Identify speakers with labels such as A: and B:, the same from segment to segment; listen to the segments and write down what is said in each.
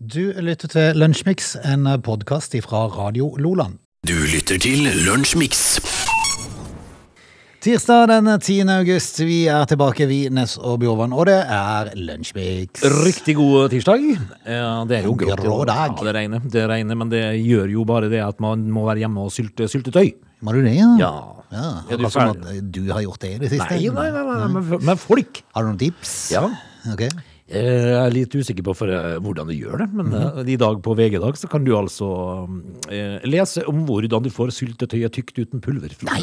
A: Du lytter til Lunsjmix, en podkast fra Radio Loland.
B: Du lytter til Lunsjmix.
A: Tirsdag den 10. august. Vi er tilbake, vi, Ness og Bjorvann, og det er Lunsjmix.
C: Riktig god tirsdag. Ja, det er jo
A: En grå
C: grått, og-
A: dag.
C: Ja, det regner, det regner, men det gjør jo bare det at man må være hjemme og sylte syltetøy.
A: Må du det, ja? ja.
C: Er du
A: Akkurat som
C: ferdig?
A: at du har gjort det i det siste.
C: Nei, nei, nei, nei, men, men folk
A: Har du noen tips?
C: Ja.
A: Ok.
C: Jeg er litt usikker på for, eh, hvordan de gjør det, men
A: Mhm.
C: eh, i dag på VG-dag så kan du altså eh, lese om hvordan du får syltetøyet tykt uten pulver. Nei!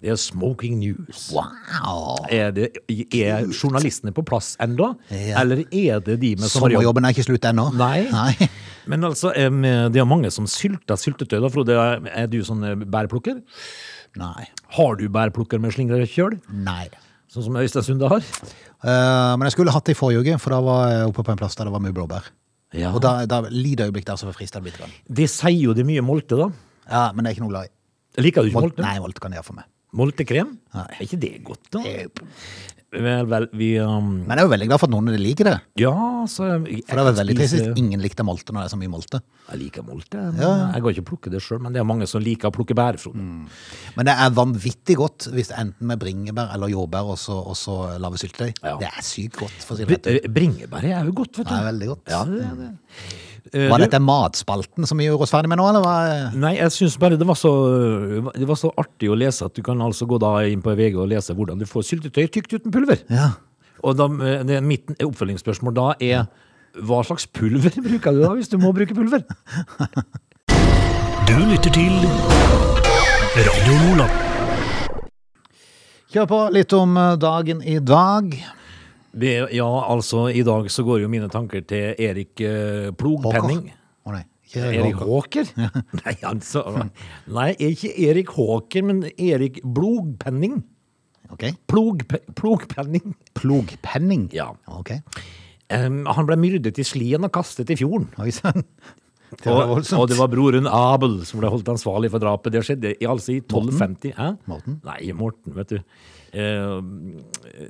C: Det er smoking news.
A: Wow.
C: Er, det, er journalistene på plass ennå,
A: Ja.
C: eller er det de med sommerjobb?
A: Sommerjobben er ikke slutt ennå.
C: Nei.
A: Nei.
C: Men altså, em, det er mange som sylter syltetøy. da, Frode, er du sånn eh, bærplukker?
A: Nei.
C: Har du bærplukker med slingrekjøl,
A: Nei.
C: sånn som Øystein Sunde har?
A: Eh, men jeg skulle hatt det i forrige uke, for da var jeg oppe på en plass der det var mye blåbær.
C: Ja.
A: Og da, da lite øyeblikk der så frista det bitte grann.
C: De sier jo det er mye molte, da.
A: Ja, men det er ikke noe glad i.
C: Liker du ikke
A: Molt,
C: molte?
A: nei, Molt kan jeg gjøre for meg.
C: Moltekrem?
A: Nei.
C: Er ikke det godt, da?
A: Det
C: Vel, vel, vi um,
A: Men jeg er jo veldig glad for at noen liker det.
C: Ja, så jeg,
A: For det var
C: jeg
A: veldig trist
C: spiser-
A: hvis ingen likte molte når det er så mye molte.
C: Jeg liker molte. men Jeg kan ikke plukke det sjøl, men det er mange som liker å plukke bær, Frode.
A: Mm. Men det er vanvittig godt hvis det enten med bringebær eller jordbær og så, og så lave syltetøy.
C: Ja.
A: Det er sykt godt, for å si det rett ut.
C: Br- Bringebær er jo godt, vet du.
A: Det er veldig godt.
C: Ja, det er det. Eh,
A: Var
C: du-
A: dette matspalten som vi gjorde oss ferdig med nå, eller hva?
C: Nei, jeg syns bare det var, så, det var så artig å lese at du kan altså gå da inn på VG og lese hvordan du får syltetøy tykt uten pulver.
A: Ja.
C: Og da, det, mitt oppfølgingsspørsmål da er hva slags pulver bruker du da, hvis du må bruke pulver?
B: Du lytter til Radio Nordland.
A: Kjør på litt om eh, dagen i dag.
C: Det, ja, altså, i dag så går jo mine tanker til Erik eh,
A: Håker.
C: Plogpenning.
A: Å nei, ikke
C: Erik
A: Håker.
C: Håker? Nei, altså, nei, ikke Erik Håker, men Erik Blogpenning.
A: Ok.
C: Plogpe, plogpenning.
A: Plogpenning.
C: Ja.
A: Ok.
C: Em, han ble myrdet i Slien og kastet i fjorden.
A: Oi sann. Det var
C: Og,
A: voldsomt.
C: og det var broren Abel som ble holdt ansvarlig for drapet. Det skjedde i, altså i 1250. Hæ?
A: Morten?
C: Nei, Morten, vet du. Eh,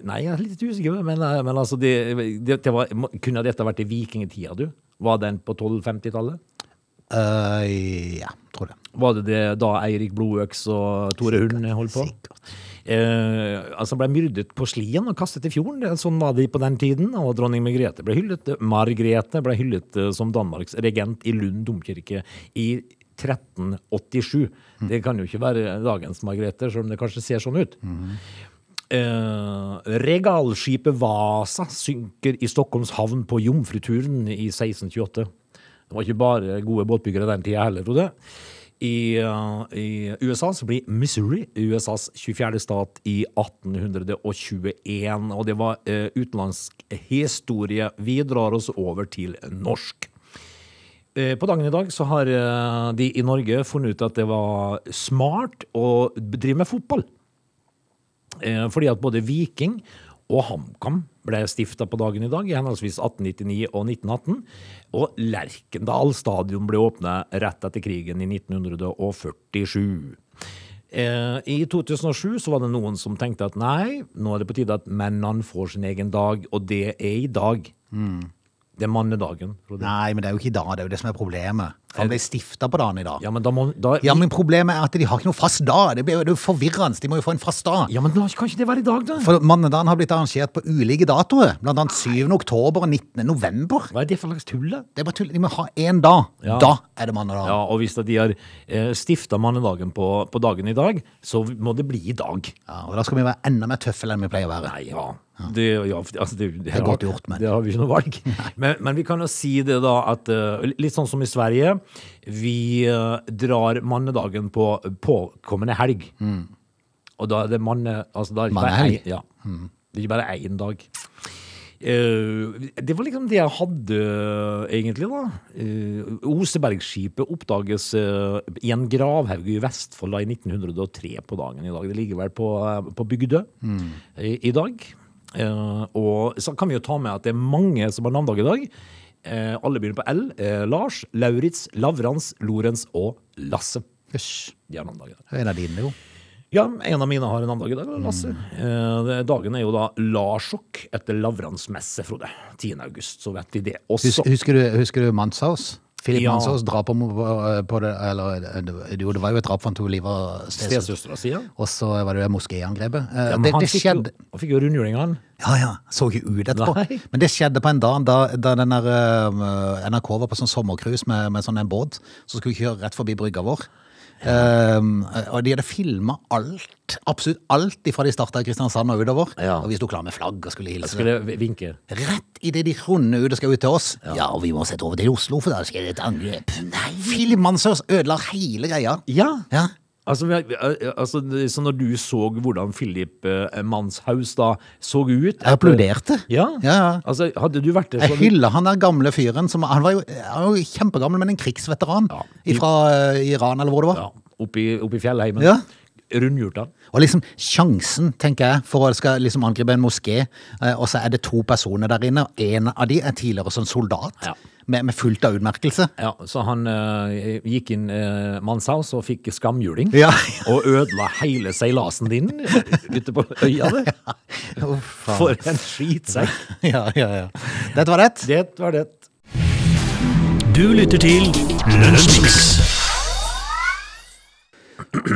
C: nei, jeg er litt usikker, men, eh, men altså det, det, det var, må- Kunne dette vært i vikingtida, du? Var den på 1250-tallet?
A: Eh, ja, tror det.
C: Var det det da Eirik Blodøks og Tore Hund holdt på? Eh, altså ble myrdet på slien og kastet i fjorden. Det- Sånn var det på den tiden. Og dronning Margrethe ble hyllet. Margrethe ble hyllet eh, som Danmarks regent i Lund domkirke i 1387. Det kan jo ikke være dagens Margrethe, selv om det kanskje ser sånn ut. Eh, regalskipet Vasa synker i Stockholms havn på Jomfruturen i 1628. Det var ikke bare gode båtbyggere den tida heller, Frode. I, eh, I USA så blir Missouri USAs 24. stat i 1821. Og det var eh, utenlandsk historie. Vi drar oss over til norsk. Eh, På dagen i dag så har eh, de i Norge funnet ut at det var smart å drive med fotball. Eh, Fordi at både Viking og HamKam ble stifta på dagen i dag, i henholdsvis 1899 og 1918. Og Lerkendal stadion ble åpna rett etter krigen i 1947. Eh, I 2007 så var det noen som tenkte at nei, nå er det på tide at mennene får sin egen dag, og det er i dag. Det er mannedagen. Frode.
A: Nei, men det er jo ikke i dag. Det er jo det som er problemet. Han ble stifta på dagen i dag.
C: Ja, men da må da,
A: Ja, men problemet er at de har ikke noe fast dag. Det blir jo det er jo forvirrende. De må jo få en fast dag.
C: Ja, men da kan ikke det være i dag, da?
A: For mannedagen har blitt arrangert på ulike datoer, blant annet 7. oktober og 19. november.
C: Hva er det for slags tull, da?
A: Det er bare tull. De må ha én dag.
C: Ja.
A: Da er det mannedag.
C: Ja, og hvis da de har eh, stifta mannedagen på, på dagen i dag, så må det bli i dag.
A: Ja, og da skal vi være enda mer tøffere enn vi pleier å være.
C: Nei, ja. Det, ja, altså det, det,
A: er
C: har-
A: godt gjort, men-
C: Det har vi ikke noe valg. Men, men vi kan jo si det da at eh, litt sånn som i Sverige, vi eh, drar mannedagen på påkommende helg. Og da er det manne... Altså da er det ikke bare
A: Mannehelg.
C: ei- Ja. Det er ikke bare én dag. Eh, det var liksom det jeg hadde, egentlig, da. Eh, Osebergskipet oppdages eh, i en gravhaug i Vestfold da, i 1903 på dagen i dag. Det ligger vel på, eh, på Bygdø i, i dag. Eh, og så kan vi jo ta med at det er mange som har navnedag i dag. Eh, alle begynner på L. Eh, Lars, Lauritz, Lavrans, Lorentz og Lasse.
A: Hysj.
C: De har navnedag i dag.
A: Det er en av dine, jo.
C: Ja, en av mine har en annen dag i dag, Lasse.
A: Mm.
C: Eh, det- Dagen er jo da Larsok etter Lavransmesse, Frode. 10. august, så vet de det også.
A: Hus, husker, du, husker du Manshaus? Philip
C: Ja.
A: Manshaus drapet på, på, eh, på det Eller det- jo, det var jo et drap for han tok livet av stesøster.
C: Stesøstera si, ja.
A: Og så var det jo det moskéangrepet. Eh,
C: Ja, men
A: det,
C: han
A: det
C: fikk jo-
A: skjedde
C: Han fikk jo rundhjuling, han.
A: Ja, ja. Så ikke ut etterpå.
C: Nei.
A: Men det skjedde på en dag da, da den der, eh, NRK var på sånn sommercruise med, med sånn en båt. Så skulle vi kjøre rett forbi brygga vår. Ehm, og de hadde filma alt, absolutt alt ifra de starta i Kristiansand og utover.
C: Ja.
A: Og vi sto klar med flagg og skulle hilse.
C: Skulle v- vinke.
A: Rett idet de runder ut og skal ut til oss. Ja, og vi må sette over til Oslo, for der skjer det et angrep. Nei! Philip Manshaus ødela hele greia.
C: Ja.
A: Ja.
C: Altså, vi- vi- altså, det- så når du så hvordan Philip eh, Manshaus da så ut
A: Jeg applauderte.
C: Ja.
A: Ja, ja.
C: Altså, hadde du vært der
A: Jeg
C: så
A: hyller han der gamle fyren. Som, han, var jo, han var jo kjempegammel, men en krigsveteran
C: Ja.
A: fra Iran eller hvor det var.
C: ja, oppi, oppi fjellheimen.
A: Ja.
C: Rundhjult han.
A: Og liksom sjansen, tenker jeg, for å skal liksom angripe en moské, eh, og så er det to personer der inne, og en av de er tidligere sånn soldat,
C: Ja.
A: med, med fullt av utmerkelse.
C: Ja, så han eh, gikk inn uh, Manshaus og fikk skamhjuling.
A: Ja.
C: Og ødela hele seilasen din ute på øya. det.
A: Uff, faen.
C: For en skitsekk.
A: ja, ja, ja. Dette var det.
C: Det var det.
B: Du lytter til Lunsjmix.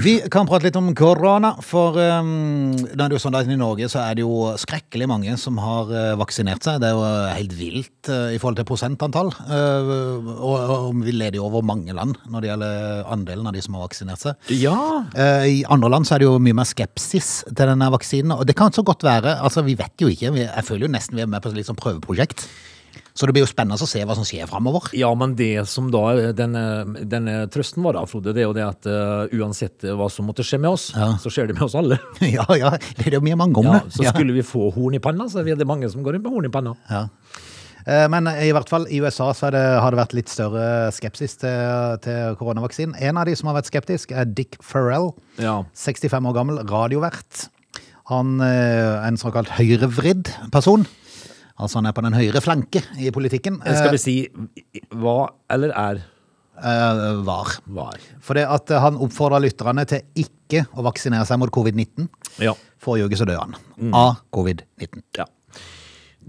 A: Vi kan prate litt om korona, for um, nå er det jo sånn at i Norge så er det jo skrekkelig mange som har eh, vaksinert seg. Det er jo helt vilt eh, i forhold til prosentantall. eh, og, og vi leder jo over mange land når det gjelder andelen av de som har vaksinert seg.
C: Ja.
A: Eh, I andre land så er det jo mye mer skepsis til denne vaksinen, og det kan så godt være. Altså, vi vet jo ikke. Vi, jeg føler jo nesten vi er med på et litt sånn prøveprosjekt. Så det blir jo spennende å se hva som skjer framover.
C: Ja, men det som da er- denne, denne trøsten var da, Frode, det er jo det at eh, uansett hva som måtte skje med oss, så skjer det med oss alle.
A: ja, ja. Det er det jo mye mange om,
C: Ja,
A: det.
C: så skulle vi få horn i panna, så er det mange som går inn med horn i panna.
A: Ja. Eh, Men i hvert fall i USA så er det, har det vært litt større skepsis til, til koronavaksinen. En av de som har vært skeptisk, er Dick Farrell.
C: Ja.
A: 65 år gammel radiovert. Han eh, er en såkalt høyrevridd person. Altså han er på den høyre flanke i politikken.
C: Eller Eh, Skal vi si hva eller er
A: Eh, var.
C: var?
A: For det at eh, han oppfordra lytterne til ikke å vaksinere seg mot covid-19.
C: Ja.
A: Forrige uke så døde han
C: Mm.
A: av covid-19.
C: ja.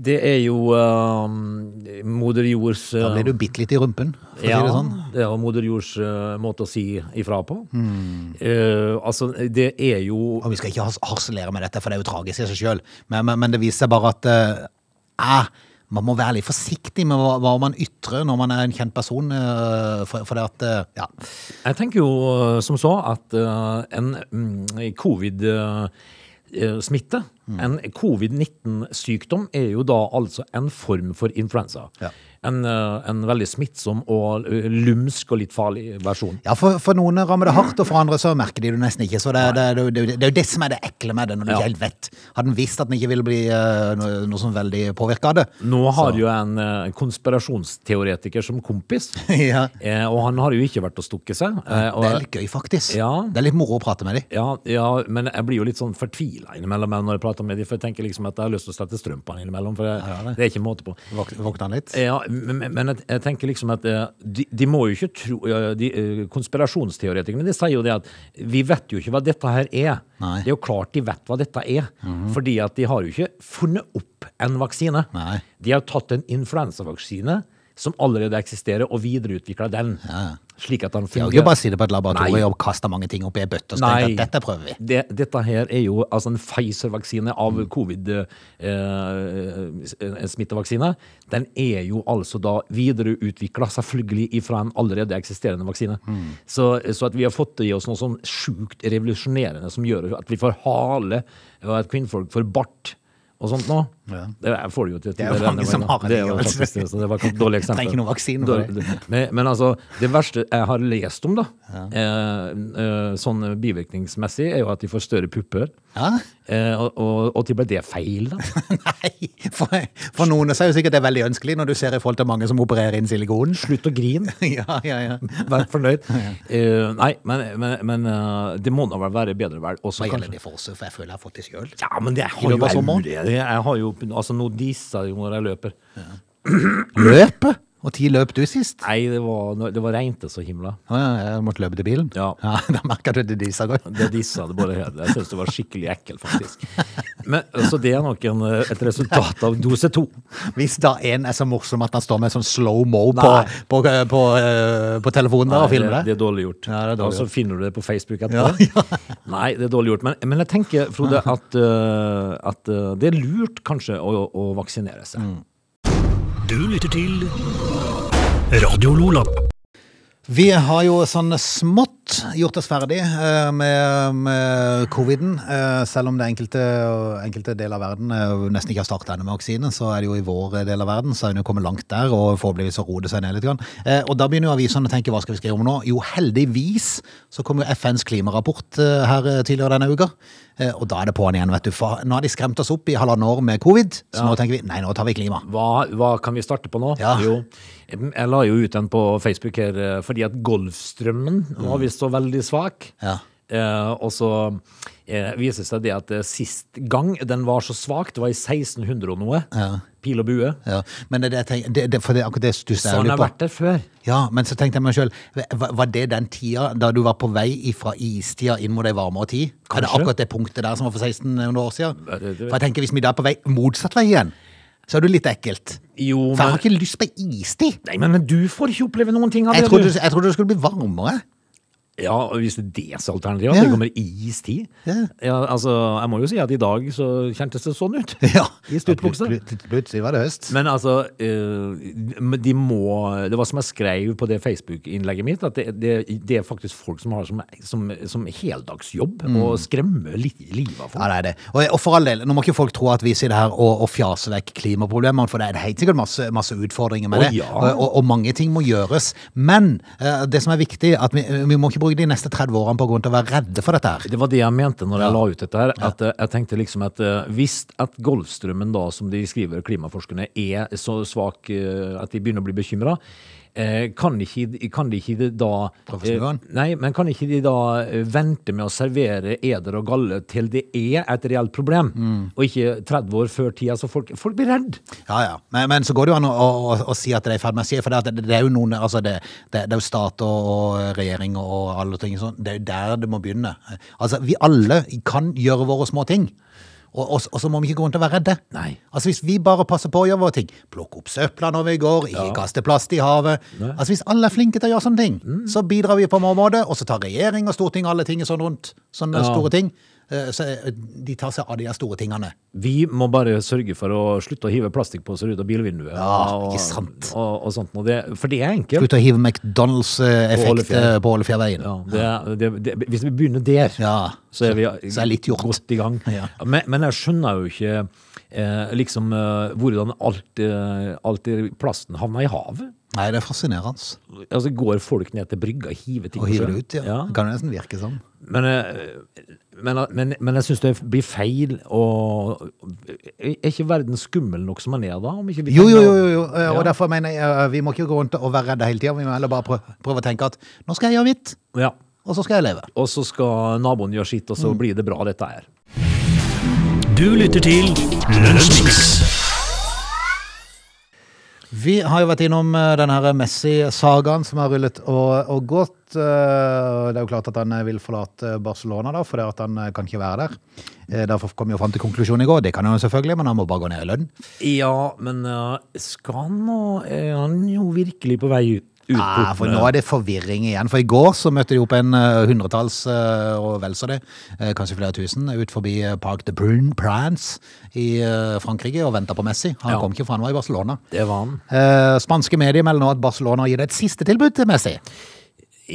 C: Det er jo eh, moder jords eh,
A: Da blir du bitt litt i rumpen, for
C: Ja,
A: å si det sånn.
C: det er jo moder jords eh, måte å si ifra på.
A: Hmm.
C: Eh, altså, det er jo
A: Og vi skal ikke has- harselere med dette, for det er jo tragisk i seg sjøl. Men, men, men det viser seg bare at eh, eh, man må være litt forsiktig med hva, hva man ytrer når man er en kjent person. eh, for, for det at eh, ja.
C: Jeg tenker jo eh, som så at eh, en mm, covid-smitte,
A: Hmm.
C: en covid-19-sykdom, er jo da altså en form for influensa.
A: Ja.
C: En, eh, en veldig smittsom og eh, lumsk og litt farlig versjon.
A: ja, for, for noen rammer det hardt, og for andre så merker de det nesten ikke. Så det, det, det, det, det er jo det som er det ekle med det, når du
C: Ja.
A: ikke helt vet. Hadde en visst at en ikke ville bli eh, noe, noe som veldig påvirka av det.
C: Nå har jo en eh, konspirasjonsteoretiker som kompis,
A: ja.
C: eh, og han har jo ikke vært og stukket seg. eh,
A: Det er
C: og,
A: litt gøy, faktisk.
C: Ja.
A: Det er litt moro å prate med dem.
C: ja, ja, men jeg blir jo litt sånn fortvila innimellom når jeg prater med dem, for jeg tenker liksom at jeg har lyst til å slette strømpene innimellom, for jeg,
A: Ja, det.
C: det er ikke måte på. Eh,
A: Våkne han litt.
C: Ja, men, men- men jeg, jeg tenker liksom at eh, de, de må jo ikke tro ja, de, eh, Konspirasjonsteoretikerne de sier jo det at vi vet jo ikke hva dette her er.
A: Nei. Mhm.
C: Det er jo klart de vet hva dette er. Fordi at de har jo ikke funnet opp en vaksine.
A: Nei.
C: De har tatt en influensavaksine som allerede eksisterer, og videreutvikla den. Slik at den
A: Jeg
C: fungerer.
A: kan ikke bare sitte på et laboratorium
C: Nei.
A: og kaste mange ting oppi ei bøtte og så
C: Nei.
A: tenke at dette prøver vi. Mm.
C: Det, dette her er jo altså en Pfizer-vaksine av eh, covid-smittevaksine. den er jo altså da videreutvikla, selvfølgelig, fra en allerede eksisterende vaksine.
A: Mm.
C: Så, så at vi har fått i oss noe sånn sjukt revolusjonerende som gjør at vi får hale, eh, og at kvinnfolk får bart. Og sånt nå.
A: Ja.
C: Det er- får det jo til
A: er jo
C: til denne
A: mange som
C: veien.
A: har det
C: Det er jo
A: likevel.
C: faktisk det, så det var et dårlig eksempel.
A: Trenger ikke noen vaksine for det.
C: Dårlig- Men, men altså, det verste jeg har lest om, da, eh, eh, sånn bivirkningsmessig, er jo at de får større pupper.
A: Ja?
C: Eh, og, og, og til og med det er feil, da.
A: Nei, for, for noen så er jo sikkert det veldig ønskelig når du ser i forhold til mange som opererer inn silikon.
C: Slutt å grine.
A: Ja, ja, ja.
C: Vær fornøyd. Eh, nei, men, men, men eh, det må da vel være bedre vel. Også
A: Hva gjelder
C: kanskje-
A: det for oss, for jeg føler jeg har fått det sjøl.
C: Ja, men det
A: I
C: har jo
A: løpet av sommeren?
C: jeg, jeg har jo Altså, nå disser jeg jo når jeg løper.
A: Løpet? Og ti løp du sist?
C: Nei, det var, det var regnet så himla.
A: Å ja, jeg måtte løpe til bilen?
C: Ja.
A: da merker du det disse går.
C: Det dissa det bare hele. Jeg syns det var skikkelig ekkelt, faktisk. Men, så det er nok en, eh, et resultat av dose to.
A: Hvis da en er så morsom at han står med sånn slow-mo på,
C: Nei.
A: på, på, eh, på telefonen der og filmer
C: det
A: det.
C: er dårlig gjort.
A: Ja, det er dårlig
C: og så finner du det på Facebook etterpå. Nei, det er dårlig gjort. Men, men jeg tenker, Frode, at, eh, at eh, det er lurt kanskje å, å vaksinere seg.
A: Mm.
B: Du lytter til Radio Lola.
A: Vi har jo sånn smått gjort oss ferdig eh, med, med coviden. eh, Selv om det enkelte, enkelte del av verden eh, nesten ikke har starta ennå med vaksine, så er det jo i vår del av verden så er en jo kommet langt der, og forhåpentligvis så roer det seg ned litt. Grann. Eh, Og da begynner jo avisene å tenke hva skal vi skrive om nå? Jo, heldigvis så kom jo FNs klimarapport eh, her eh, tidligere denne uka. Eh, Og da er det på'n igjen, vet du. For nå har de skremt oss opp i halvannet år med covid, så nå tenker vi nei, nå tar vi klima.
C: Hva, hva kan vi starte på nå?
A: Ja.
C: Jo, jeg la jo ut den på Facebook her eh, fordi at Golfstrømmen var visst så veldig svak.
A: Mm. Ja.
C: Eh, og så eh, viser det seg det at eh, sist gang den var så svak, det var i 1600 og noe,
A: Ja.
C: pil og bue,
A: Ja, men det, er det, jeg tenker- det, det, for det, er akkurat det stusser
C: så
A: jeg
C: han
A: litt
C: Sånn har
A: på.
C: vært der før.
A: Ja, men så tenkte jeg meg selv, hva- var det den tida da du var på vei fra istida inn mot ei varmere tid? Er det
C: Kanskje.
A: akkurat det punktet der som var for 1600 år siden?
C: Ja, det- det-
A: For jeg tenker, hvis vi da er på vei motsatt vei igjen, så er det jo litt ekkelt.
C: Jo,
A: For jeg har
C: men,
A: ikke lyst på ei istid.
C: nei, men, men du får ikke oppleve noen ting av
A: Jeg
C: det.
A: trodde,
C: du.
A: jeg trodde det skulle bli varmere.
C: Ja, og hvis det er det som er alternativet,
A: Ja.
C: at det kommer istid.
A: Ja.
C: altså, jeg må jo si at i dag så kjentes det sånn ut.
A: Ja.
C: I stuttbukser.
A: Ja, plut- plut- Plutselig var det høst.
C: Men altså, eh, men de må Det var som jeg skrev på det Facebook-innlegget mitt, at det, det, det er faktisk folk som har som, som, som heldagsjobb
A: Mm.
C: å skremme li, livet av folk.
A: Ja, det er det. Og, og for all del, nå må ikke folk tro at vi sitter her og, og fjaser vekk klimaproblemene, for det er helt sikkert masse, masse utfordringer med
C: Å,
A: det.
C: ja.
A: Og, og, og mange ting må gjøres. Men eh, det som er viktig, at vi, vi må ikke bruke de neste 30 årene på å gå rundt og være redde for dette her.
C: Det var det jeg mente når jeg la ut dette her. At eh, jeg tenkte liksom at eh, hvis at Golfstrømmen, da, som de skriver, klimaforskerne, er så svak eh, at de begynner å bli bekymra, kan ikke, de- kan de ikke de da
A: Prøve å snu
C: eh,
A: den?
C: Nei, men kan ikke de da eh, vente med å servere eder og galle til det er et reelt problem,
A: Mm.
C: og ikke 30 år før tida? Så folk, folk blir redd.
A: Ja, ja. Men, men så går det jo an å, å, å, å si at det er i ferd med å skje, for det, at det, det er jo noen altså det, det, det er jo stat og, og regjering og alle ting sånn. Det er jo der det må begynne. Altså, vi alle kan gjøre våre små ting. Og, og, og så må vi ikke gå rundt og være redde.
C: Nei.
A: Altså Hvis vi bare passer på å gjøre våre ting, plukke opp søpla når vi går, ikke
C: Ja.
A: kaste plast i havet Altså Hvis alle er flinke til å gjøre sånne ting,
C: Mm.
A: så bidrar vi på en område, og så tar regjering og storting alle ting sånn rundt. Sånne
C: Ja.
A: store ting. Eh, Så eh, de tar seg av de her store tingene.
C: Vi må bare sørge for å slutte å hive plastikkposer ut av bilvinduet.
A: Ja,
C: og,
A: ikke sant.
C: Og, og sånt, og det, for det er enkelt.
A: Slutt å hive McDonald's-effekt eh,
C: Ålefjell.
A: på Ålefjellveien.
C: Ja, det, er- det, det, hvis vi begynner der,
A: Ja,
C: så er vi
A: så er litt gjort.
C: godt i gang.
A: Ja.
C: Men, men jeg skjønner jo ikke eh, liksom eh, hvordan alt, eh, alt i plasten havner i havet.
A: Nei, det er fascinerende.
C: Altså Går folk ned til brygga og hiver ting
A: Å
C: på
A: hive
C: sjøen?
A: det ut, ja. Det kan jo nesten virke sånn.
C: Men, eh, men, men, men jeg syns det blir feil å Er ikke verden skummel nok som den er da? Om ikke vi
A: Jo, jo,
C: tenker-
A: jo, jo, jo. eh, og
C: Ja.
A: derfor mener jeg eh, vi må ikke gå rundt og være redde hele tida. Vi må heller bare prøve, prøve å tenke at nå skal jeg gjøre mitt,
C: Ja.
A: og så skal jeg leve.
C: Og så skal naboen gjøre sitt, og
A: Mm.
C: så blir det bra, dette her.
B: Du lytter til Lunsjmix.
A: Vi har jo vært innom eh, den her Messi-sagaen som har rullet og, og gått. Eh, Det er jo klart at han eh, vil forlate Barcelona, da, for det at han eh, kan ikke være der. Eh, Derfor kom vi jo fram til konklusjonen i går. Det kan han jo selvfølgelig, men han må bare gå ned i lønn.
C: Ja, men eh, skal han nå Er han jo virkelig på vei ut? ut
A: Nei,
C: portene?
A: for nå er det forvirring igjen. For i går så møtte de opp en eh, hundretalls, eh, og vel så det, eh, kanskje flere tusen, ut forbi eh, Parc de Brun Prance i eh, Frankrike og venta på Messi. Han
C: Ja.
A: kom ikke, for han var i Barcelona.
C: Det var han.
A: Eh, Spanske medier melder nå at Barcelona gir et siste tilbud til Messi.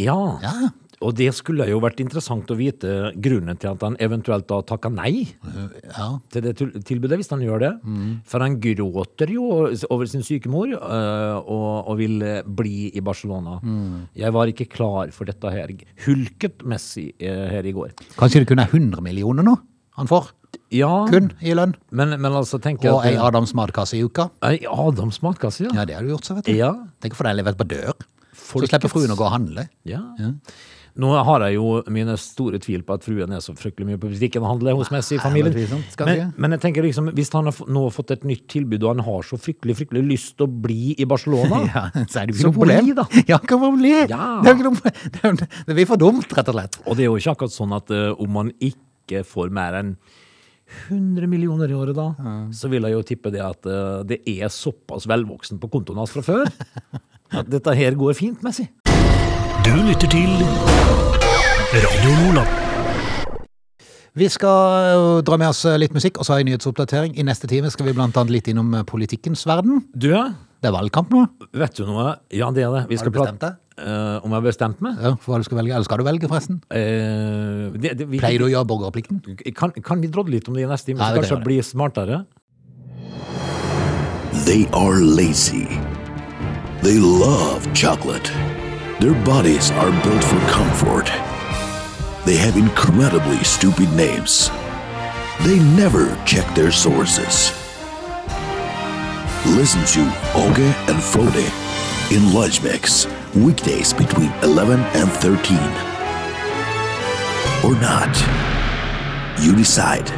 C: Ja.
A: Ja.
C: Og det skulle jo vært interessant å vite grunnen til at han eventuelt da takka nei
A: Ja.
C: til det til- tilbudet, hvis han gjør det.
A: Mm.
C: For han gråter jo over sin syke mor, eh, og, og vil eh, bli i Barcelona.
A: Mm.
C: Jeg var ikke klar for dette her. Hulket Messi eh, her i går.
A: Kanskje det kun er 100 millioner nå han får?
C: Ja,
A: Kun i lønn?
C: Men, men altså, tenker
A: Og ei
C: jeg at
A: Adams matkasse i uka?
C: Ei Adams matkasse, ja.
A: Ja, det har du gjort, så vet du.
C: Ja.
A: Tenk å få deg levert på dør. Så
C: Folkets-
A: slipper fruen å gå og handle.
C: Ja. Nå har jeg jo mine store tvil på at fruen er så fryktelig mye på butikken og handler hos Messi i familien.
A: det er tvilsomt, skal
C: Men,
A: ikke?
C: men jeg tenker liksom, hvis han har f- nå fått et nytt tilbud, og han har så fryktelig fryktelig lyst til å bli i Barcelona
A: Ja, så er det jo
C: Så
A: ikke noe problem.
C: bli, da.
A: Ja, kan man bli?
C: Ja.
A: Det er jo ikke noe, det er, jo- det blir for dumt, rett og slett.
C: Og det er jo ikke akkurat sånn at eh, om man ikke får mer enn 100 millioner i året, da, så vil jeg jo tippe det at eh, det er såpass velvoksen på kontoen hans fra før at dette her går fint, Messi.
B: Du lytter til Radio Lola.
A: Vi skal ø, dra med oss ø, litt musikk, og så har jeg nyhetsoppdatering. I neste time skal vi blant annet litt innom ø, politikkens verden.
C: Du,
A: Det er valgkamp nå.
C: vet du noe? Ja, det er det. Vi
A: Har du bestemt deg?
C: Eh, om jeg har bestemt meg?
A: Ja, for hva du skal velge. Eller skal du velge, forresten?
C: Eh, det, det, vi,
A: Pleier du å gjøre borgerplikten?
C: kan, kan vi drodle litt om det i neste time,
A: Ja,
C: så
A: vi
C: kanskje
A: trenger det.
C: bli smartere?
D: They are lazy. They love chocolate. Their bodies are built for comfort. They have incredibly stupid names. They never check their sources. Listen to Oge and Frode in Lunch Mix, weekdays between 11 and 13. Or not. You decide.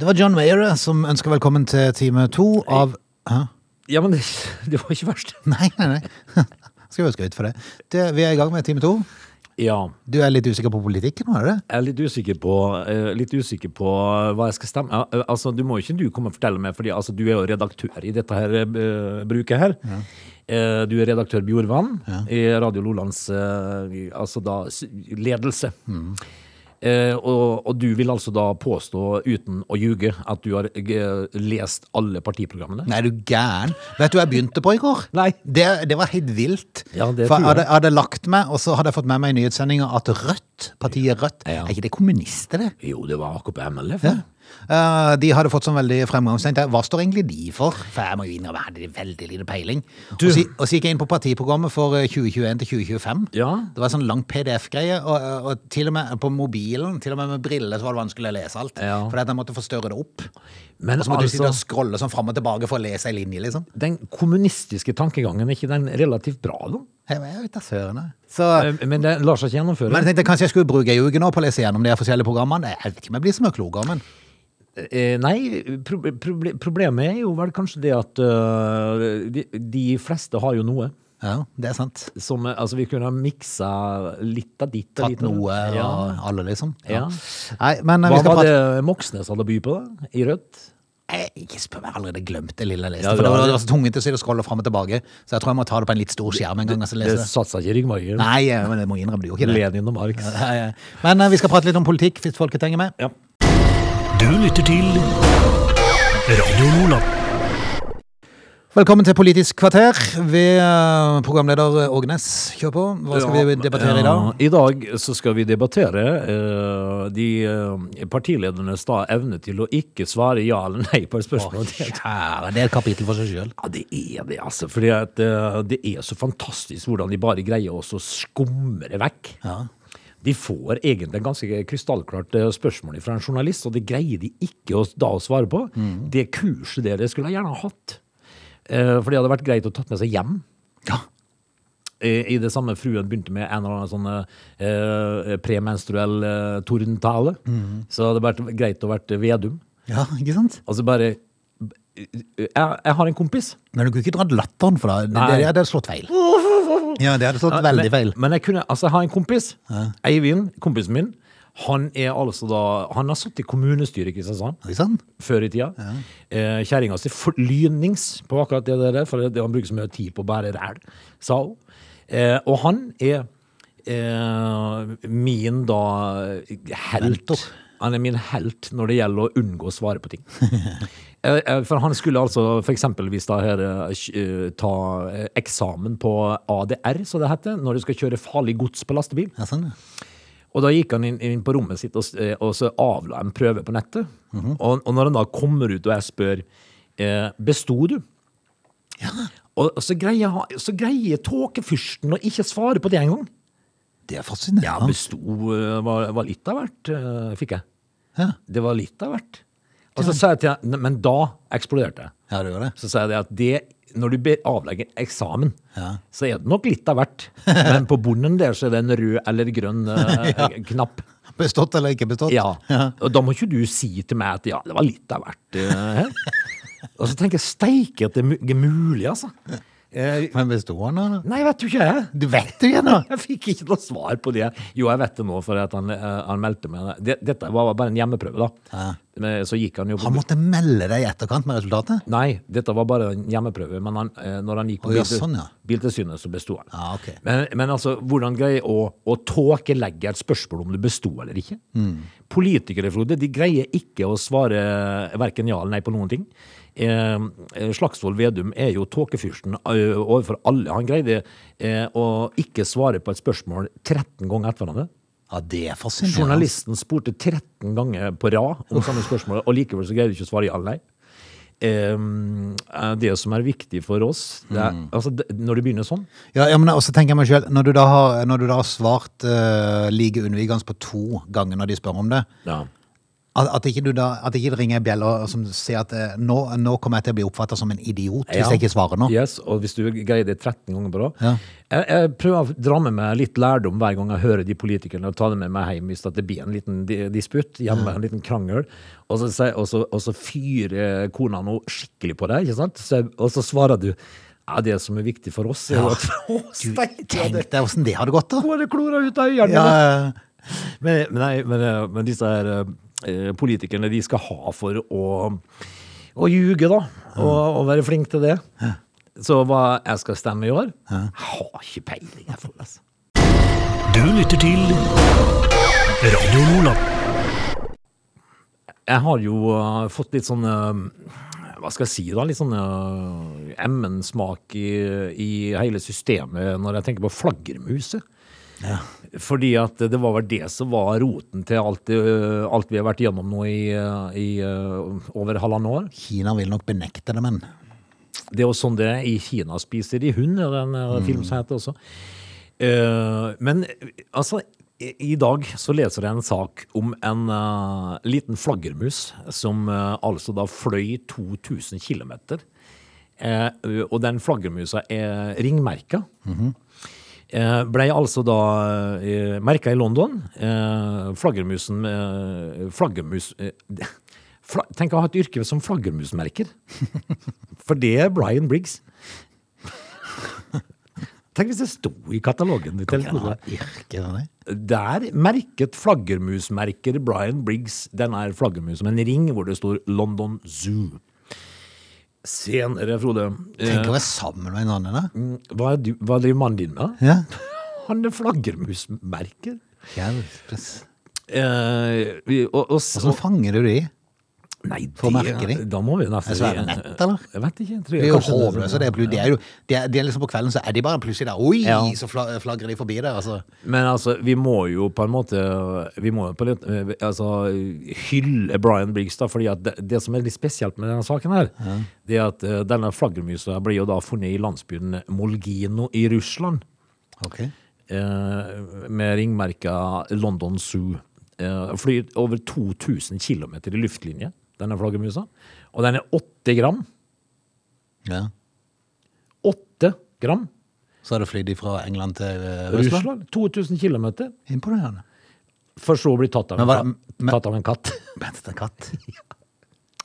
A: Det var John Mayer ø, som ønsker velkommen til time to av Hæ?
C: Ja, men det, det var ikke verst.
A: Nei, nei, nei. Skal vi ha skryt for det. det. Vi er i gang med time to.
C: Ja.
A: Du er litt usikker på politikken, er du det?
C: Jeg er litt usikker på, eh, litt usikker på hva jeg skal stemme. Ja, eh, altså, du må jo ikke du komme og fortelle meg, fordi altså, du er jo redaktør i dette her, eh, bruket her. Eh, Du er redaktør Bjorvann i Radio Lolands eh, altså da, s- ledelse.
A: Mm.
C: Eh, og, og du vil altså da påstå, uten å ljuge, at du har eh, lest alle partiprogrammene?
A: Nei, du gæren. Vet du hva jeg begynte på i går?
C: Nei.
A: Det, det var helt vilt.
C: Ja, det
A: For
C: tror jeg.
A: jeg hadde, jeg hadde lagt meg, og så hadde jeg fått med meg i nyhetssendinga at Rødt, partiet Rødt,
C: Ja.
A: er ikke det kommunister, det?
C: Jo, det var AKP MLF.
A: Ja. Eh, de hadde fått sånn veldig fremgangstegn. Tenkte jeg, Hva står egentlig de for? For jeg må jo innrømme, jeg hadde veldig lite peiling. Og så, og så gikk jeg inn på partiprogrammet for eh, 2021 til 2025.
C: Ja.
A: Det var en sånn lang PDF-greie, og, eh, og til og med på mobilen, til og med med briller, så var det vanskelig å lese alt.
C: Ja.
A: Fordi at jeg måtte forstørre det opp.
C: Men
A: Og så måtte du sitte og
C: altså,
A: scrolle sånn fram og tilbake for å lese ei linje, liksom.
C: den kommunistiske tankegangen, er ikke den relativt bra, da?
A: Jeg jeg vet da søren, jeg. Så,
C: Eh, Men det lar seg ikke gjennomføre.
A: men jeg tenkte kanskje jeg skulle bruke ei uke nå på å lese gjennom de her forskjellige programmene. Jeg vet ikke om jeg blir så mye klokere, men
C: Eh, nei, proble proble problemet er jo vel kanskje det at øh, de, de fleste har jo noe.
A: ja, det er sant.
C: Som, eh, altså, vi kunne ha miksa litt av ditt og
A: Tatt
C: litt av
A: noe
C: datt. ja.
A: og alle, liksom.
C: Ja.
A: Nei, men eh,
C: Hva
A: vi skal
C: var
A: prate
C: det Moxnes hadde å by på, da? I Rødt?
A: Jeg- Ikke spør meg, jeg har allerede glemt det lille jeg leste.
C: Ja,
A: for
C: du
A: det
C: har
A: var, det
C: det.
A: var så tungvint å sitte og scrolle fram og tilbake, så jeg tror jeg må ta det på en litt stor skjerm en gang. Og så
C: Det
A: lese det.
C: satt seg ikke i ryggmargen.
A: Nei, eh, men jeg må innrømme, det gjorde ikke det.
C: Lenin og Marx.
A: Nei, eh, Men eh, vi skal prate litt om politikk, hvis folket henger med.
C: Ja.
B: Du lytter til Radio Lola.
A: Velkommen til Politisk kvarter. Ved eh, programleder Ågnes, kjør på. Hva skal vi debattere i dag?
C: Ja, eh, I dag så skal vi debattere eh, de eh, partiledernes da evne til å ikke svare ja eller nei på et spørsmål. Det-
A: Kjære, det er et kapittel for seg sjøl.
C: Ja, det er det, altså. Fordi at eh, det er så fantastisk hvordan de bare greier også å skumre vekk. De får egentlig et ganske krystallklart eh, spørsmål fra en journalist, og det greier de ikke å, da å svare på.
A: Mm.
C: Det kurset dere skulle jeg gjerne ha hatt. Eh, for det hadde vært greit å tatt med seg hjem. Eh, I det samme fruen begynte med en eller annen sånn eh, premenstruell eh, tordentale.
A: Mhm.
C: Så det hadde vært greit å vært Vedum.
A: Ja, ikke sant?
C: Altså bare jeg, jeg har en kompis.
A: Men du kunne ikke dratt latteren for deg. Det,
C: Nei.
A: det hadde slått feil. Ja, det hadde slått veldig feil.
C: Men, men jeg kunne, altså jeg har en kompis, Eivind, kompisen min, han er altså da, han har satt i kommunestyret i Kristiansand,
A: Ikke sant?
C: før i tida. Eh, Kjerringa si forlynings på akkurat det der, for det, han bruker så mye tid på å bære ræl, sa hun. Eh, og han er eh, min da helt.
A: Mentor.
C: Han er min helt når det gjelder å unngå å svare på ting. Eh, eh, For han skulle altså for eksempelvis da her eh, kj- eh, ta eh, eksamen på ADR, som det heter, når du skal kjøre farlig gods på lastebil.
A: Ja, sånn, ja.
C: Og da gikk han inn, inn på rommet sitt og, s- eh, og så avla en prøve på nettet.
A: Mhm.
C: og, og når han da kommer ut og jeg spør eh, Besto du? Og, og så greier, han- så greier tåkefyrsten å ikke svare på det engang.
A: Det er fascinerende.
C: Ja, besto eh, var, var litt av hvert, eh, fikk jeg.
A: Ja.
C: Det var litt av hvert. Og så sa jeg til henne, men da eksploderte jeg.
A: Ja, det gjør det.
C: Så sa jeg det at det, når du be- avlegger eksamen,
A: Ja.
C: så er det nok litt av hvert. Men på bunnen der så er det en rød eller grønn eh, knapp.
A: Bestått eller ikke bestått?
C: Ja. Og da må ikke du si til meg at ja, det var litt av hvert. eh, her. Og så tenker jeg steike at det er mu- ikke mulig, altså. Eh,
A: Men besto han, da?
C: Nei, vet du ikke jeg.
A: Du vet det jo nå!
C: Jeg fikk ikke noe svar på det. Jo, jeg vet det nå, for at han, eh, han meldte meg. Det- Dette var bare en hjemmeprøve, da. Men eh, Så gikk han jo på
A: Han måtte melde deg i etterkant med resultatet?
C: Nei, dette var bare en hjemmeprøve, men han, eh, når han gikk på
A: Å, ja,
C: biltil-
A: sånn, ja.
C: biltilsynet, så besto han.
A: Ja, ok.
C: men, men altså, hvordan greier å, å tåkelegge et spørsmål om du besto eller ikke?
A: Mm.
C: Politikere, Frode, de greier ikke å svare verken ja eller nei på noen ting. Eh, eh, Slagsvold Vedum er jo tåkefyrsten eh, overfor alle. Han greide eh, å ikke svare på et spørsmål 13 ganger etter hverandre.
A: Ja, det er fascinerende.
C: Journalisten spurte 13 ganger på rad om samme spørsmål, og likevel så greide du ikke å svare ja eller nei. Ehm, eh, det som er viktig for oss det er,
A: Mm.
C: altså, det, Når det begynner sånn
A: Ja, ja, men også tenker jeg meg selv, Når du da har, når du da har svart uh, like unnvigende på to ganger når de spør om det, at, at, ikke, du da, at ikke det ringer en bjelle og- som sier at eh, nå, nå kommer jeg til å bli oppfatta som en idiot
C: Ja.
A: hvis jeg ikke svarer nå.
C: Yes, og hvis du greier det 13 ganger på rad
A: Ja.
C: jeg, jeg prøver å dra med meg litt lærdom hver gang jeg hører de politikerne, og ta det med meg hjem hvis at det blir en liten di- disputt hjemme, en liten krangel. Og så, sier- og så, og så fyrer kona noe skikkelig på deg, ikke sant? Så, jeg- og så svarer du ja, det som er viktig for oss, er jo at Å,
A: Du,
C: steike,
A: tenk
C: det-
A: deg åssen det hadde gått, da!
C: Bare klora ut av hjernen.
A: Ja,
C: Men, men, nei, men, eh, men disse her eh, politikerne de skal ha for å, å ljuge, da. Og, og være flink til det. Så hva jeg skal stemme i år? Jeg har ikke peiling. jeg får, altså.
B: Du lytter til Radio Lola.
C: Jeg har jo eh, fått litt sånn eh, Hva skal jeg si, da? Litt sånn eh, emmen-smak i, i hele systemet når jeg tenker på flaggermuset. Fordi at det var vel det som var roten til alt, det, eh, alt vi har vært igjennom nå i, eh, i eh, over halvannet år.
A: Kina vil nok benekte det, men
C: Det er jo sånn det er i Kina spiser de hund, er det en eh, film som heter også. Eh, men eh, altså, i, i dag så leser jeg en sak om en eh, liten flaggermus som eh, altså da fløy 2000 kilometer. Eh, og den flaggermusa er ringmerka. Eh, Blei altså da eh, merka i London. Eh, Flaggermusen eh, Flaggermus eh, fla, Tenk å ha et yrke som flaggermusmerker. For det er Brian Briggs. Tenk hvis det sto i katalogen ditt.
A: ja,
C: eller noe.
A: yrke, det.
C: Der merket flaggermusmerker Brian Briggs denne flaggermusen med en ring hvor det står London Zoo. Senere, Frode
A: Tenk
C: eh,
A: å være sammen med en annen,
C: Mm.
A: da.
C: hva, er du, hva driver mannen din med?
A: Ja.
C: Han er flaggermusmerker.
A: Hjelpes.
C: Eh, vi- og, og,
A: Hvordan fanger du de?
C: nei,
A: for
C: det-
A: merkeri?
C: Da må vi nesten
A: Er svære nett, eller?
C: Jeg vet ikke. jeg tror
A: De
C: jeg
A: er jo
C: kanskje- sånn,
A: håpløse. Det er, plu- de er jo, de er, de er liksom på kvelden så er de bare plutselig der. Oi,
C: Ja.
A: så fla- flagrer de forbi der, altså.
C: Men altså, vi må jo på en måte Vi må jo på litt, eh, altså, hylle Brian Briggs, da, fordi at det, det som er litt spesielt med denne saken her, det er at eh, denne flaggermusa ble jo da funnet i landsbyen Molgino i Russland.
A: Ok.
C: eh, med ringmerka London Zoo. Eh, flyr over 2000 km i luftlinje, denne flaggermusa. Og den er åtte gram.
A: Ja.
C: Åtte gram!
A: Så hadde flydd de fra England til eh, Russland.
C: Russland. 2000 km.
A: Imponerende.
C: For så å bli tatt av,
A: Men
C: en,
A: hva-
C: katt,
A: men-
C: tatt av en katt.
A: Vent, en katt.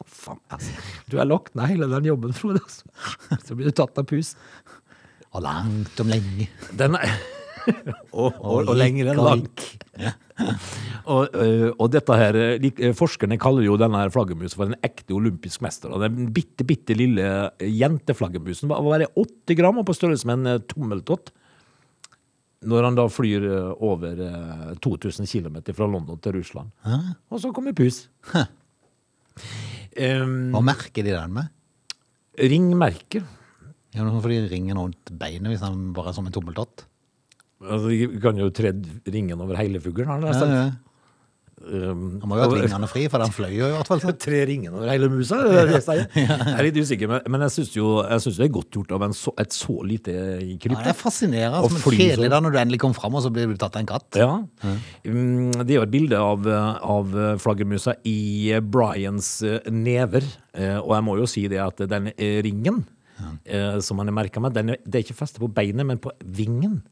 C: Faen, altså. Du er lagt ned hele den jobben, Frode. Altså. Så blir du tatt av pus.
A: Og langt om lenge.
C: Den er og, og, og
A: lik
C: lenger enn
A: og
C: lank. og, ø, og dette her ø, lik- ø, Forskerne kaller jo denne her flaggermusen for en ekte olympisk mester. Og den bitte, bitte lille øh, jenteflaggermusen var var bare åtte gram og på størrelse med en ø, tommeltott. Når han da flyr ø, over øh, ø, 2000 km fra London til Russland. Og så kommer pus. Um,
A: Hva merker de den med?
C: ringmerker.
A: Ja, men Hvorfor de ringer noen til beinet hvis han bare er som en tommeltott?
C: Altså, de kan jo tredd ringen over hele fuglen. har de
A: Ja,
C: sagt.
A: ja.
C: um,
A: Han må jo ha hatt vingene fri, for den fløy jo i hvert fall. så.
C: tre ringene over hele musa. Det er det jeg sier. Jeg er litt usikker, men, men jeg syns jo jeg synes det er godt gjort av en så, et så lite
A: Ja,
C: krypto.
A: det er fascinerende. altså,
C: Og
A: Men
C: fly
A: kjedelig
C: sånn.
A: da når du endelig kom fram, og så blir du tatt av en katt.
C: Ja. Mm, Det er jo et bilde av, eh, av flaggermusa i eh, Bryans eh, never. Eh, Og jeg må jo si det at den eh, ringen eh, som han er merka med, den er, det er ikke festet på beinet, men på vingen.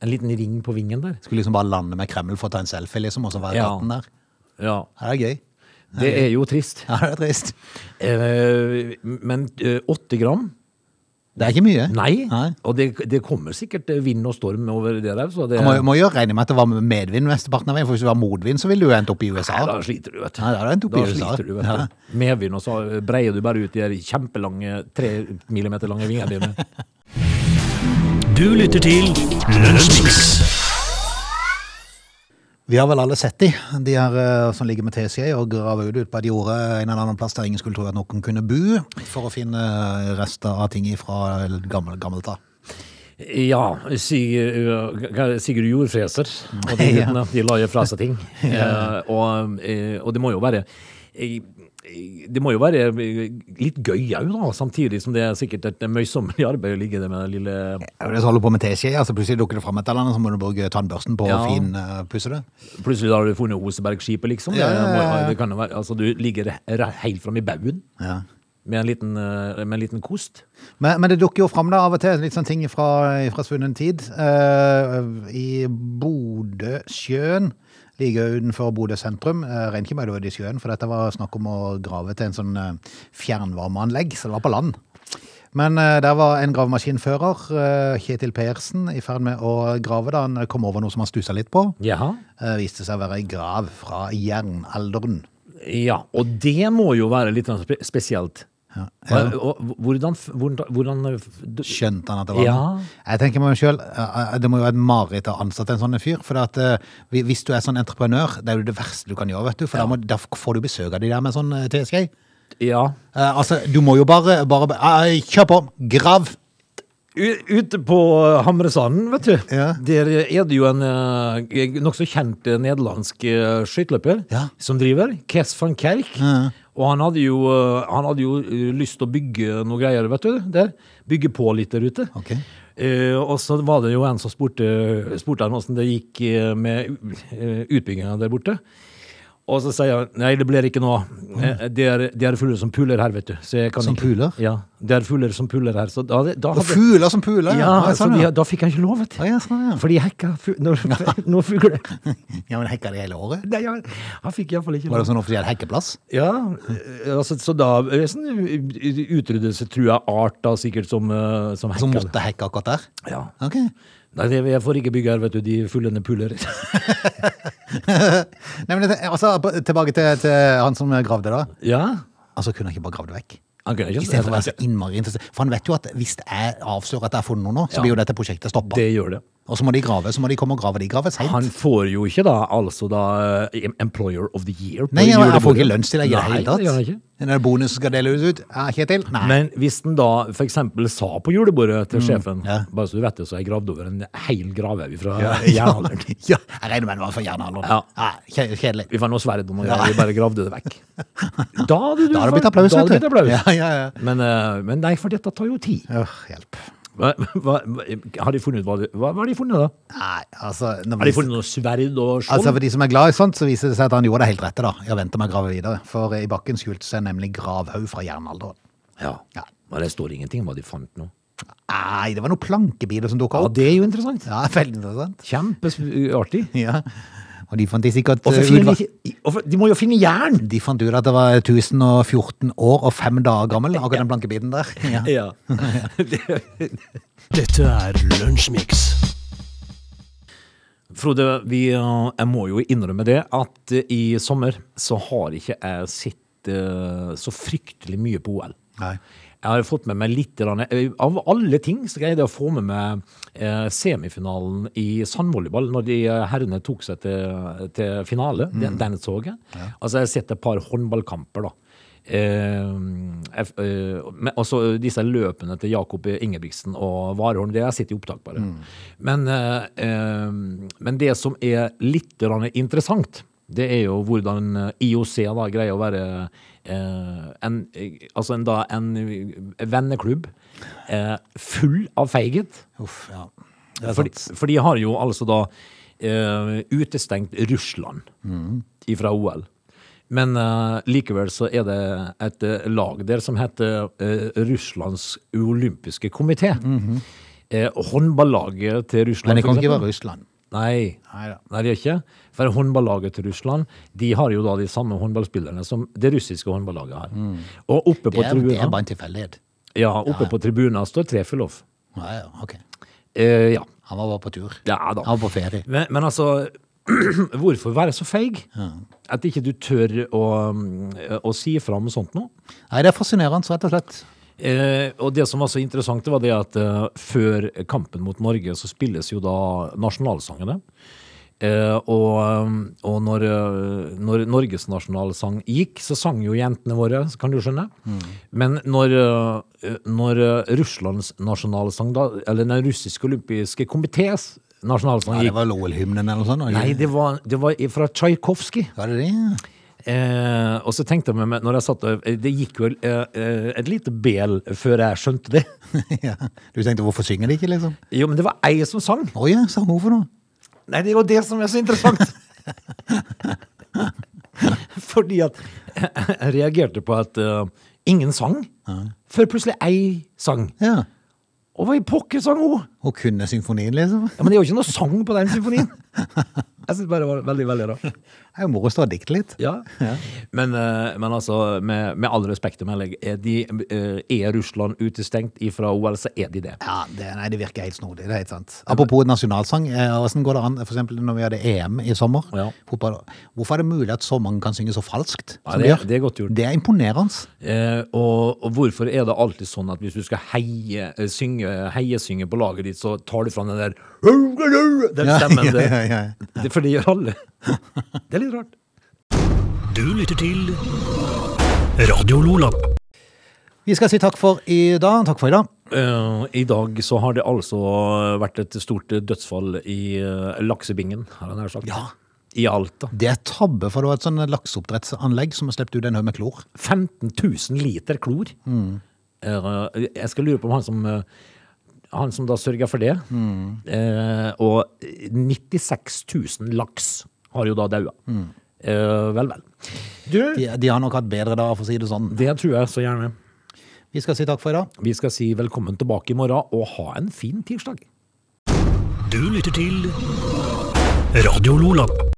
C: En liten ring på vingen der.
A: Skulle liksom bare lande med Kreml for å ta en selfie, liksom, og så være
C: Ja.
A: katten der.
C: Ja.
A: Ja, det er gøy.
C: Det er jo trist.
A: Ja, det er trist.
C: Eh, Men eh, åtte gram
A: Det er ikke mye.
C: Nei,
A: Nei.
C: og det, det kommer sikkert vind og storm over det der. Så det,
A: Man må, må jo regne med at det var medvind mesteparten av veien, for hvis det var motvind, så ville du jo endt opp i USA.
C: da sliter du, vet du.
A: Nei, da er det en
C: Da
A: topi i USA.
C: sliter du, vet
A: Ja.
C: du. Medvind, og så breier du bare ut de der kjempelange, tre millimeter lange vingene dine.
B: Du lytter til Lunsjmix.
A: Vi har vel alle sett de, de her eh, som ligger med TCA og graver ut ut på et jorde en eller annen plass der ingen skulle tro at noen kunne bo, for å finne eh, rester av ting fra gammel, gammelt da.
C: Ja, Sig, hva er det? Sigurd Jordfreser. Og de,
A: Ja.
C: guttene, de la jo fra seg ting. Eh, og, eh, og det må jo være eh, det må jo være litt gøy òg, da, samtidig som det er sikkert et møysommelig arbeid å ligge der med den lille
A: Det er jo det som holder på med TCA, altså plutselig dukker det frem et eller annet, så må du bruke tannbørsten på å
C: Ja.
A: finpusse det.
C: Plutselig har du funnet Osebergskipet, liksom.
A: Ja, ja, ja, ja.
C: Det kan jo være, altså, du ligger re- helt framme i baugen
A: Ja.
C: med, en liten, eh, med en liten kost.
A: Men, men det dukker jo fram da av og til litt sånne ting fra, fra svunnen tid. Eh, I Bodøsjøen, like utenfor Bodø sentrum. Uh, Regner ikke med det var i sjøen, for dette var snakk om å grave til en sånn eh, fjernvarmeanlegg, så det var på land. Men eh, der var en gravemaskinfører, eh, Kjetil Persen, i ferd med å grave da han kom over noe som han stussa litt på.
C: Jaha.
A: Eh, viste seg å være ei grav fra jernalderen.
C: Ja, og det må jo være litt sånn spe- spesielt.
A: Ja.
C: Hva- og hvordan, f- hvordan, hvordan f- du-
A: Skjønte han at det var
C: Ja.
A: han? Jeg tenker meg selv, eh, det må jo være et mareritt å ansette en sånn en fyr, for at, eh, hvi- hvis du er sånn entreprenør, det er jo det verste du kan gjøre, vet du, for da, må, da får du besøk av de der med sånn eh, TSG.
C: Ja.
A: Eh, altså, du må jo bare, bare eh, kjør på, grav!
C: U- Ute på eh, Hamresanden, vet du,
A: Ja.
C: der er det jo en eh, nokså kjent eh, nederlandsk eh, skøyteløper
A: Ja.
C: som driver, Kes van Kerk. Og han hadde, jo, eh, han hadde jo eh, lyst til å bygge noe greier, vet du, der. Bygge på litt der ute.
A: Ok.
C: Eh, og så var det jo en som spurte, spurte han hvordan det gikk eh, med uh, utbygginga der borte. Og så sier han nei, det blir ikke noe. Eh, Det er, det er fugler som puler her, vet du. Så jeg kan
A: Som
C: ikke.
A: puler?
C: Ja. Det er fugler som puler her. Så da, da
A: Og
C: hadde-
A: fugler som puler!
C: ja, altså,
A: ja,
C: så
A: sånn,
C: de,
A: ja.
C: da fikk han ikke lov, vet du.
A: Å, ja, sånn, ja.
C: Fordi hekka fu- når, når fugler
A: ja, men hekka det hele året?
C: Nei, han, han fikk iallfall ikke
A: Var det
C: lov.
A: sånn offisiell hekkeplass?
C: Ja, eh, altså, så da eh, sånn, eh, utryddelsestrua art, da, sikkert, som, eh, som
A: Som
C: hekka.
A: måtte hekke akkurat der?
C: Ja.
A: Ok.
C: Nei, det, jeg får ikke bygge her, vet du. De fuglene puler.
A: Nei, men det, altså, på- tilbake til, til han som gravde da.
C: ja.
A: Altså, kunne han ikke bare gravd det vekk?
C: Han kunne
A: I stedet for å
C: ikke Altså,
A: være så innmari interessert. For han vet jo at hvis jeg avslører at jeg har funnet noe nå, så
C: Ja.
A: blir jo dette prosjektet stoppa.
C: Det gjør det.
A: Og så må de grave, så må de komme og grave. De graver
C: Han
A: seint.
C: får jo ikke da altså da eh, em- Employer of the Year. på
A: Nei, jeg, jeg får
C: julebordet.
A: ikke lønnstillegg i det
C: Nei,
A: hele tatt.
C: gjør han ikke.
A: Den der bonusen skal deles ut. Ja, Kjetil? Nei. Mm.
C: Men hvis den da for eksempel sa på julebordet til sjefen
A: ja.
C: Bare så du vet det, så har jeg gravd over en hel gravhaug fra
A: ja,
C: jernalderen.
A: ja, jeg regner med det var for jernalderen.
C: Ja.
A: Ja, kje- kjedelig.
C: Vi fant noe sverd og noe greier, vi bare gravde det vekk. Da hadde du
A: Da hadde det
C: fått-
A: blitt applaus.
C: da hadde
A: vet
C: det
A: du.
C: blitt applaus.
A: Ja, ja, ja.
C: Men, eh, men nei, for dette tar jo tid.
A: Åh, hjelp.
C: Hva, hva, hva- har de funnet ut hva, de- hva, hva har de funnet, da?
A: Nei, altså, når
C: Har de
A: vi-
C: funnet noe sverd og skjold?
A: altså For de som er glad i sånt, så viser det seg at han gjorde det helt rette. da. Jeg venter med å grave videre. For i bakken skjulte seg nemlig gravhaug fra jernalderen.
C: ja.
A: Ja.
C: Men det står ingenting om hva de fant nå.
A: Nei, det var noen plankebiter som dukka
C: Ja,
A: opp.
C: det er jo interessant.
A: Ja, veldig interessant.
C: Kjempeartig.
A: Ja, og de fant de sikkert
C: Hvorfor
A: eh, ut
C: finner
A: hva-
C: de ikke- hvorfor- De må jo finne jern!
A: De fant ut at det var 1014 år og fem dager gammel, akkurat den blanke biten der. Ja.
C: Ja.
B: Dette er Lunsjmix.
C: Frode, vi, eh, jeg må jo innrømme det at eh, i sommer så har ikke jeg sett eh, så fryktelig mye på OL.
A: Nei.
C: Jeg har fått med meg litt grann, eh, Av alle ting så greide jeg å få med meg eh, semifinalen i sandvolleyball, når de eh, herrene tok seg til, til finale. Den, den så jeg. Altså, jeg har sett et par håndballkamper, da. Eh, jeg- eh, men også disse løpene til Jakob Ingebrigtsen og Warholm, det har jeg sett i opptak, bare. Men, eh, eh, men det som er litt grann interessant, Det er jo hvordan eh, IOC da greier å være eh, en, eh, altså en, da, en venneklubb eh, full av feighet.
A: Uff, ja. Det er
C: For,
A: sant.
C: for de har jo altså da eh, utestengt Russland
A: Mm.
C: fra OL. Men eh, likevel så er det et eh, lag der som heter eh, Russlands olympiske komité. eh, håndballaget til
A: Mhm. Men
C: Russland
A: det
C: for
A: kan ikke
C: eksempel.
A: være Russland.
C: Nei,
A: Neida.
C: Nei det er ikke. For håndballaget til Russland de har jo da de samme håndballspillerne som det russiske håndballaget har. Og oppe
A: Mm. Det
C: på
A: er, det er
C: tribunen,
A: bare en tilfeldighet.
C: ja, oppe på tribunen står Trefilov.
A: Ja, ja, ok.
C: Eh, ja.
A: Han var bare på tur.
C: ja da.
A: Han var på ferie.
C: Men, men altså, hvorfor være så feig? At ikke du tør å, mm, å si fra om sånt noe?
A: Nei, det er fascinerende, så rett og slett.
C: Eh, og det som var så interessant, det var det at eh, før kampen mot Norge så spilles jo da nasjonalsangene. Eh, og eh, og når, eh, når Norges nasjonalsang gikk, så sang jo jentene våre, kan du skjønne. Men når, eh, når eh, Russlands nasjonalsang, da, eller den russiske olympiske komités nasjonalsang
A: Ja, det
C: gikk
A: var Lowell-hymnen eller noe sånt. var det
C: Nei,
A: ikke?
C: det var, det var fra Tsjajkovskij.
A: Var det det?
C: Eh, og så tenkte jeg meg, med- når jeg satt og- Det gikk jo eh, eh, et lite bel før jeg skjønte det.
A: ja. Du tenkte, hvorfor synger de ikke, liksom?
C: Jo, men det var ei som sang.
A: Å ja, sa hun for noe?
C: Nei, det er jo det som er så interessant. Fordi at jeg reagerte på at eh, ingen sang, før plutselig ei sang.
A: Ja.
C: Og hva i pokker sang hun?
A: Hun kunne symfonien, liksom.
C: Ja, men det er jo ikke noe sang på den symfonien. Jeg syns bare det var veldig, veldig rart.
A: Det er jo moro å stå og dikte litt.
C: Ja. Men, eh, men altså, med, med all respekt å melde, er, de, eh, er Russland utestengt ifra OL, så er de det.
A: Ja, det, nei, det virker helt snodig. det er helt sant. Apropos nasjonalsang, eh, hvordan går det an for eksempel når vi hadde EM i sommer?
C: Ja.
A: Fotball, hvorfor er det mulig at så mange kan synge så falskt?
C: Ja,
A: som
C: det-
A: de gjør?
C: det er godt gjort.
A: Det er imponerende.
C: Eh, og, og hvorfor er det alltid sånn at hvis du skal heie, eh, synge, heiesynge på laget ditt, så tar du fram den der Den
A: Ja,
C: stemmen
A: ja,
C: der.
A: ja, ja.
C: Det, for det gjør alle. Det er litt rart.
B: Du lytter til Radio Lola.
A: Vi skal si takk for i dag. Takk for i dag.
C: Eh, I dag så har det altså vært et stort dødsfall i eh, laksebingen, har jeg nær sagt.
A: Ja.
C: I Alta.
A: Det er tabbe, for det var et sånn lakseoppdrettsanlegg som har sluppet ut en haug med klor.
C: 15 000 liter klor. Eh, jeg skal lure på om han som eh, han som da sørga for det. Eh, og 96 000 laks har jo da daua. Eh, vel, vel. Du,
A: De, de har nok hatt bedre dager, for å si det sånn.
C: det tror jeg så gjerne.
A: Vi skal si takk for i dag.
C: Vi skal si velkommen tilbake i morgen, og ha en fin tirsdag.
B: Du lytter til Radio Lola.